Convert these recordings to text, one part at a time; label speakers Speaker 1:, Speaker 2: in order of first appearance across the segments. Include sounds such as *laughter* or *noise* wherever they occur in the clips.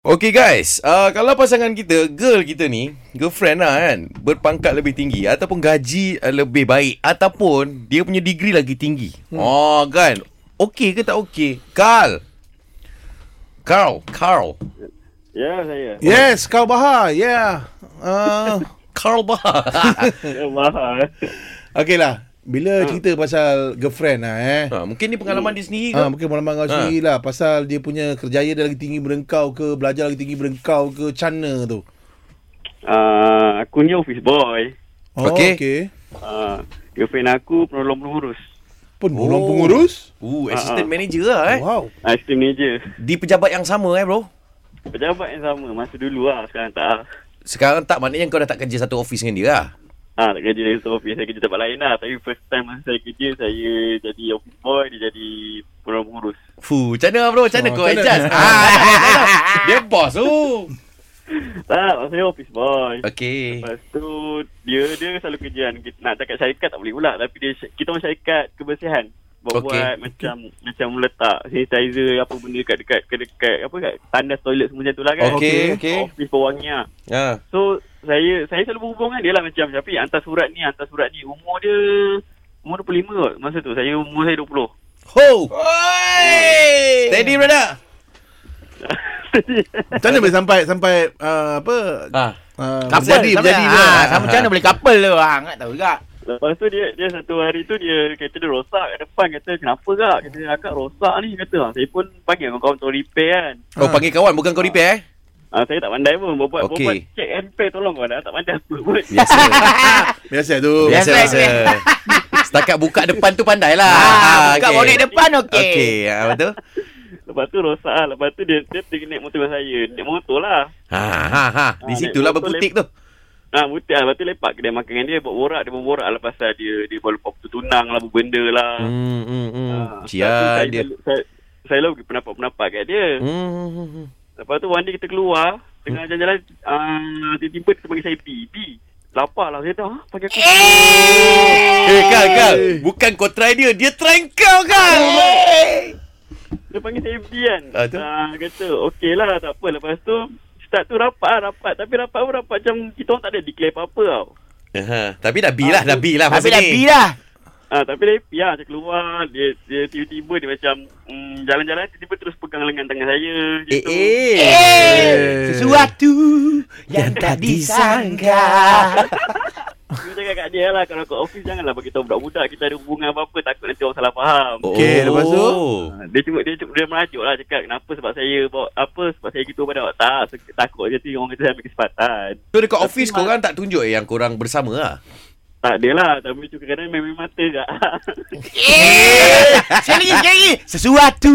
Speaker 1: Okay guys, uh, kalau pasangan kita, girl kita ni, girlfriend lah kan, berpangkat lebih tinggi ataupun gaji uh, lebih baik ataupun dia punya degree lagi tinggi. Hmm. Oh kan, okay ke tak okay? Carl. Carl, Carl.
Speaker 2: Ya saya.
Speaker 3: Yes, kau Bahar. Yeah. Uh,
Speaker 1: Carl Bahar.
Speaker 2: *laughs* Ya mahal.
Speaker 3: okay lah.
Speaker 1: Ah.
Speaker 3: Bila cerita pasal girlfriend lah eh.
Speaker 1: ha, mungkin ni pengalaman dia sendiri ke?
Speaker 3: Ah, mungkin malam kau sendiri lah Pasal dia punya kerjaya dia lagi tinggi berengkau ke Belajar lagi tinggi berengkau ke Cana tu
Speaker 2: Uh, aku ni office boy.
Speaker 3: oh,
Speaker 1: Okey.
Speaker 3: okay.
Speaker 2: Uh, girlfriend aku penolong pengurus.
Speaker 3: Penolong
Speaker 1: Oh.
Speaker 3: pengurus
Speaker 1: Uh, assistant manager lah eh.
Speaker 3: Wow
Speaker 2: Assistant manager.
Speaker 1: Di pejabat yang sama eh bro.
Speaker 2: Pejabat yang sama masa dulu lah. Sekarang tak lah.
Speaker 1: Sekarang tak maknanya kau dah tak kerja satu office dengan dia lah.
Speaker 2: Ah, tak kerja dari office. Saya kerja tempat lain lah. Tapi first time masa saya kerja, saya jadi office boy. Dia jadi penolong pengurus.
Speaker 1: Fuh, macam mana bro? Macam mana
Speaker 3: Oh,
Speaker 1: kau
Speaker 3: macam mana?
Speaker 1: adjust? Ah, *laughs* dia boss tu. Oh.
Speaker 2: Tak, maksudnya office boy.
Speaker 1: Okay.
Speaker 2: Lepas tu, dia dia selalu kerjaan. Kita- Nak cakap syarikat tak boleh pula. Tapi dia, sy- kita orang syarikat kebersihan. Buat,
Speaker 1: Okey.
Speaker 2: buat macam macam letak sanitizer apa benda dekat dekat dekat, dekat apa kat tandas toilet semua macam tu lah kan.
Speaker 1: Okay, okay.
Speaker 2: Office pewangian.
Speaker 1: Ha.
Speaker 2: So saya saya selalu berhubung dengan dia lah macam Syafiq hantar surat ni hantar surat ni umur dia umur 25 kot masa tu saya umur saya 20.
Speaker 1: Ho! Oi! Steady brother.
Speaker 3: Macam mana boleh sampai Sampai uh, Apa
Speaker 1: Ah.
Speaker 3: uh,
Speaker 4: Couple
Speaker 3: Berjadi Berjadi
Speaker 4: sampai-
Speaker 3: dia
Speaker 4: ah, sama macam mana boleh couple tu ah, Angkat tahu *laughs* juga
Speaker 2: *laughs* Lepas tu dia dia satu hari tu dia kereta dia rosak kat depan kata kenapa kak kata akak rosak ni kata "Ah, saya pun panggil kawan-kawan untuk repair kan.
Speaker 1: Oh, panggil kawan bukan kau repair eh?
Speaker 2: Ah, saya tak pandai pun buat
Speaker 1: Okey.
Speaker 2: okay. buat check and pay tolong kau dah tak pandai apa pun. *laughs*
Speaker 1: Biasa.
Speaker 4: Ah,
Speaker 3: Biasa tu
Speaker 1: biasa,
Speaker 4: Biasa,
Speaker 1: Oh, biasa. Setakat buka depan tu pandai lah.
Speaker 4: ah, Buka
Speaker 1: okey.
Speaker 4: bonet depan okey
Speaker 1: Okey, ah, betul.
Speaker 2: Lepas tu rosak lah. Lepas tu dia dia pergi naik motor dengan saya. Naik motor lah.
Speaker 1: Ha, ha, ha. Di
Speaker 2: Ah,
Speaker 1: situlah
Speaker 2: dia-
Speaker 1: berputik tu.
Speaker 2: Ah, butik lah. Lepas tu lepak kedai makan dengan dia. Buat borak. Dia pun borak lah pasal dia. Dia buat lupa tunang lah. Benda lah.
Speaker 1: Hmm, hmm, hmm.
Speaker 2: Ah,
Speaker 1: Cia
Speaker 2: saya-
Speaker 1: dia.
Speaker 2: Saya, saya lah bagi pendapat-pendapat kat dia. Hmm.
Speaker 1: Hmm, hmm, hmm.
Speaker 2: Lepas tu one day kita keluar, tengah jalan-jalan, uh, tiba-tiba dia panggil saya B. B. Lapar lah. Saya tahu, ha? Panggil aku.
Speaker 1: Eh, Kal, Kal. Bukan kau try dia, dia try kau, Kal.
Speaker 2: Dia panggil saya B kan.
Speaker 1: Ah, tu.
Speaker 2: Ah, dia kata, okey lah, tak apa. Lepas tu, start tu rapat lah, rapat. Tapi rapat pun rapat macam kita orang tak ada declare apa-apa tau.
Speaker 1: Ha, tapi dah B lah, dah B lah.
Speaker 4: Tapi
Speaker 1: masa
Speaker 4: dah
Speaker 1: ni.
Speaker 4: B lah
Speaker 2: Ah, tapi dia happy lah. Dia keluar, dia, dia tiba-tiba dia macam mm, jalan-jalan, tiba-tiba terus pegang lengan tangan saya.
Speaker 1: Eh,
Speaker 2: gitu.
Speaker 1: eh.
Speaker 4: Sesuatu Yang tak disangka
Speaker 2: Dia cakap kat dia lah, kalau kat office janganlah bagi tahu budak-budak kita ada hubungan apa-apa, takut nanti orang salah faham.
Speaker 1: Oh,
Speaker 3: Okey, lepas tu?
Speaker 4: Oh.
Speaker 2: Ah, Dia cuba dia cuba dia merajuk lah cakap kenapa sebab saya bawa apa sebab saya gitu pada awak tak se- takut je tu orang kata saya ambil kesempatan.
Speaker 1: So dekat office korang tak tunjuk eh yang korang bersama lah.
Speaker 2: Tak ada lah tapi tu kadang main-main mata je. *laughs*
Speaker 4: Eh. Sekali lagi, sekali lagi Sesuatu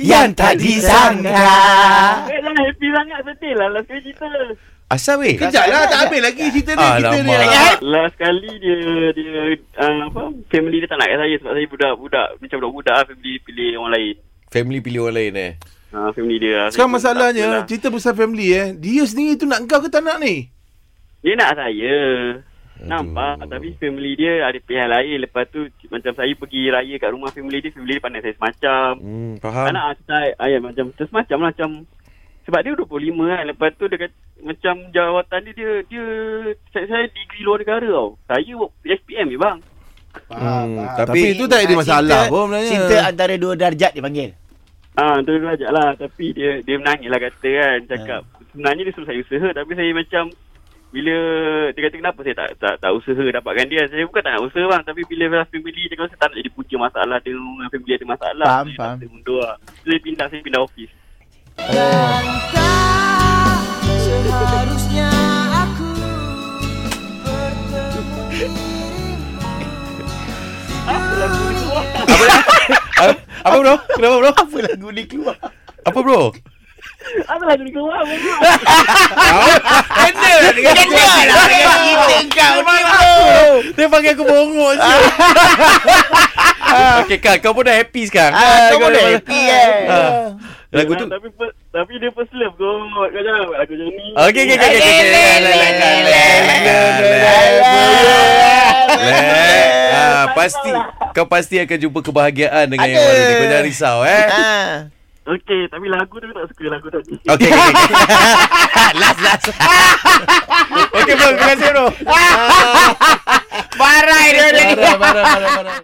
Speaker 4: Yang tak disangka
Speaker 3: Ah.
Speaker 2: Eh jangan happy sangat sedih lah last kali cerita.
Speaker 3: Eh?
Speaker 1: Asal weh?
Speaker 3: Kejap lah tak habis lagi cerita ni Kita ni
Speaker 1: Alamak.
Speaker 3: lah.
Speaker 2: Last kali dia dia uh, apa family dia tak nak kat saya sebab saya budak-budak macam budak-budak lah, family pilih orang lain.
Speaker 1: Family pilih orang lain eh.
Speaker 2: Uh, family dia lah.
Speaker 3: Sekarang
Speaker 2: Saya pun tak
Speaker 3: masalahnya
Speaker 2: apalah.
Speaker 3: Cerita pasal family eh Dia sendiri tu nak kau ke tak nak ni
Speaker 2: Dia nak saya. Nampak tapi family dia ada pihak lain lepas tu macam saya pergi raya kat rumah family dia family dia pandang saya semacam.
Speaker 1: Hmm,
Speaker 2: Tak
Speaker 1: faham.
Speaker 2: nak ah, acai ayat ya, macam tu semacam lah macam sebab dia 25 kan lepas tu dia kata, macam jawatan dia dia dia saya, saya degree luar negara tau. Saya buat SPM je ya, bang.
Speaker 1: Hmm,
Speaker 3: Tapi,
Speaker 1: tapi
Speaker 3: itu tak ada masalah
Speaker 4: Ah, Eh,
Speaker 3: pun
Speaker 4: Cinta-
Speaker 3: Ya. sebenarnya
Speaker 4: Cinta antara dua darjat dia panggil
Speaker 2: Ah tu dia ajak lah tapi dia dia menangis lah kata kan cakap
Speaker 1: Ah.
Speaker 2: sebenarnya dia suruh saya usaha tapi saya macam bila dia kata kenapa saya tak tak, tak usaha dapatkan dia saya bukan tak nak usaha bang tapi bila bila family dia kata saya tak nak jadi punca masalah dia dengan family ada masalah
Speaker 4: Faham,
Speaker 2: saya
Speaker 4: faham.
Speaker 2: tak boleh mundur lah. saya pindah saya pindah office
Speaker 5: Seharusnya aku bertemu
Speaker 1: Ah, apa bro? Kenapa bro? Apa lagu ni keluar? Apa bro?
Speaker 2: Apalah dia keluar bang
Speaker 1: Kena lah dengan
Speaker 4: Kena lah dengan kita kau ni bro
Speaker 1: Dia panggil aku bongok je. Okey Kak, kau pun dah happy sekarang.
Speaker 4: Ah, Kau boleh happy kan
Speaker 1: Ah, Lagu tu.
Speaker 2: Tapi per- tapi dia first love kot. Kau jangan buat lagu macam ni.
Speaker 1: Okey okey okey okey. Ah, pasti kau pasti akan jumpa kebahagiaan dengan yang mana ni. Kau jangan risau eh.
Speaker 4: Ah.
Speaker 2: Okey, tapi lagu tu tak suka lagu tadi.
Speaker 1: Okay, okay, okay. *laughs* last, last. okay, bro. Terima kasih, bro.
Speaker 4: Barai dia tadi.
Speaker 1: Marah, marah, marah, marah.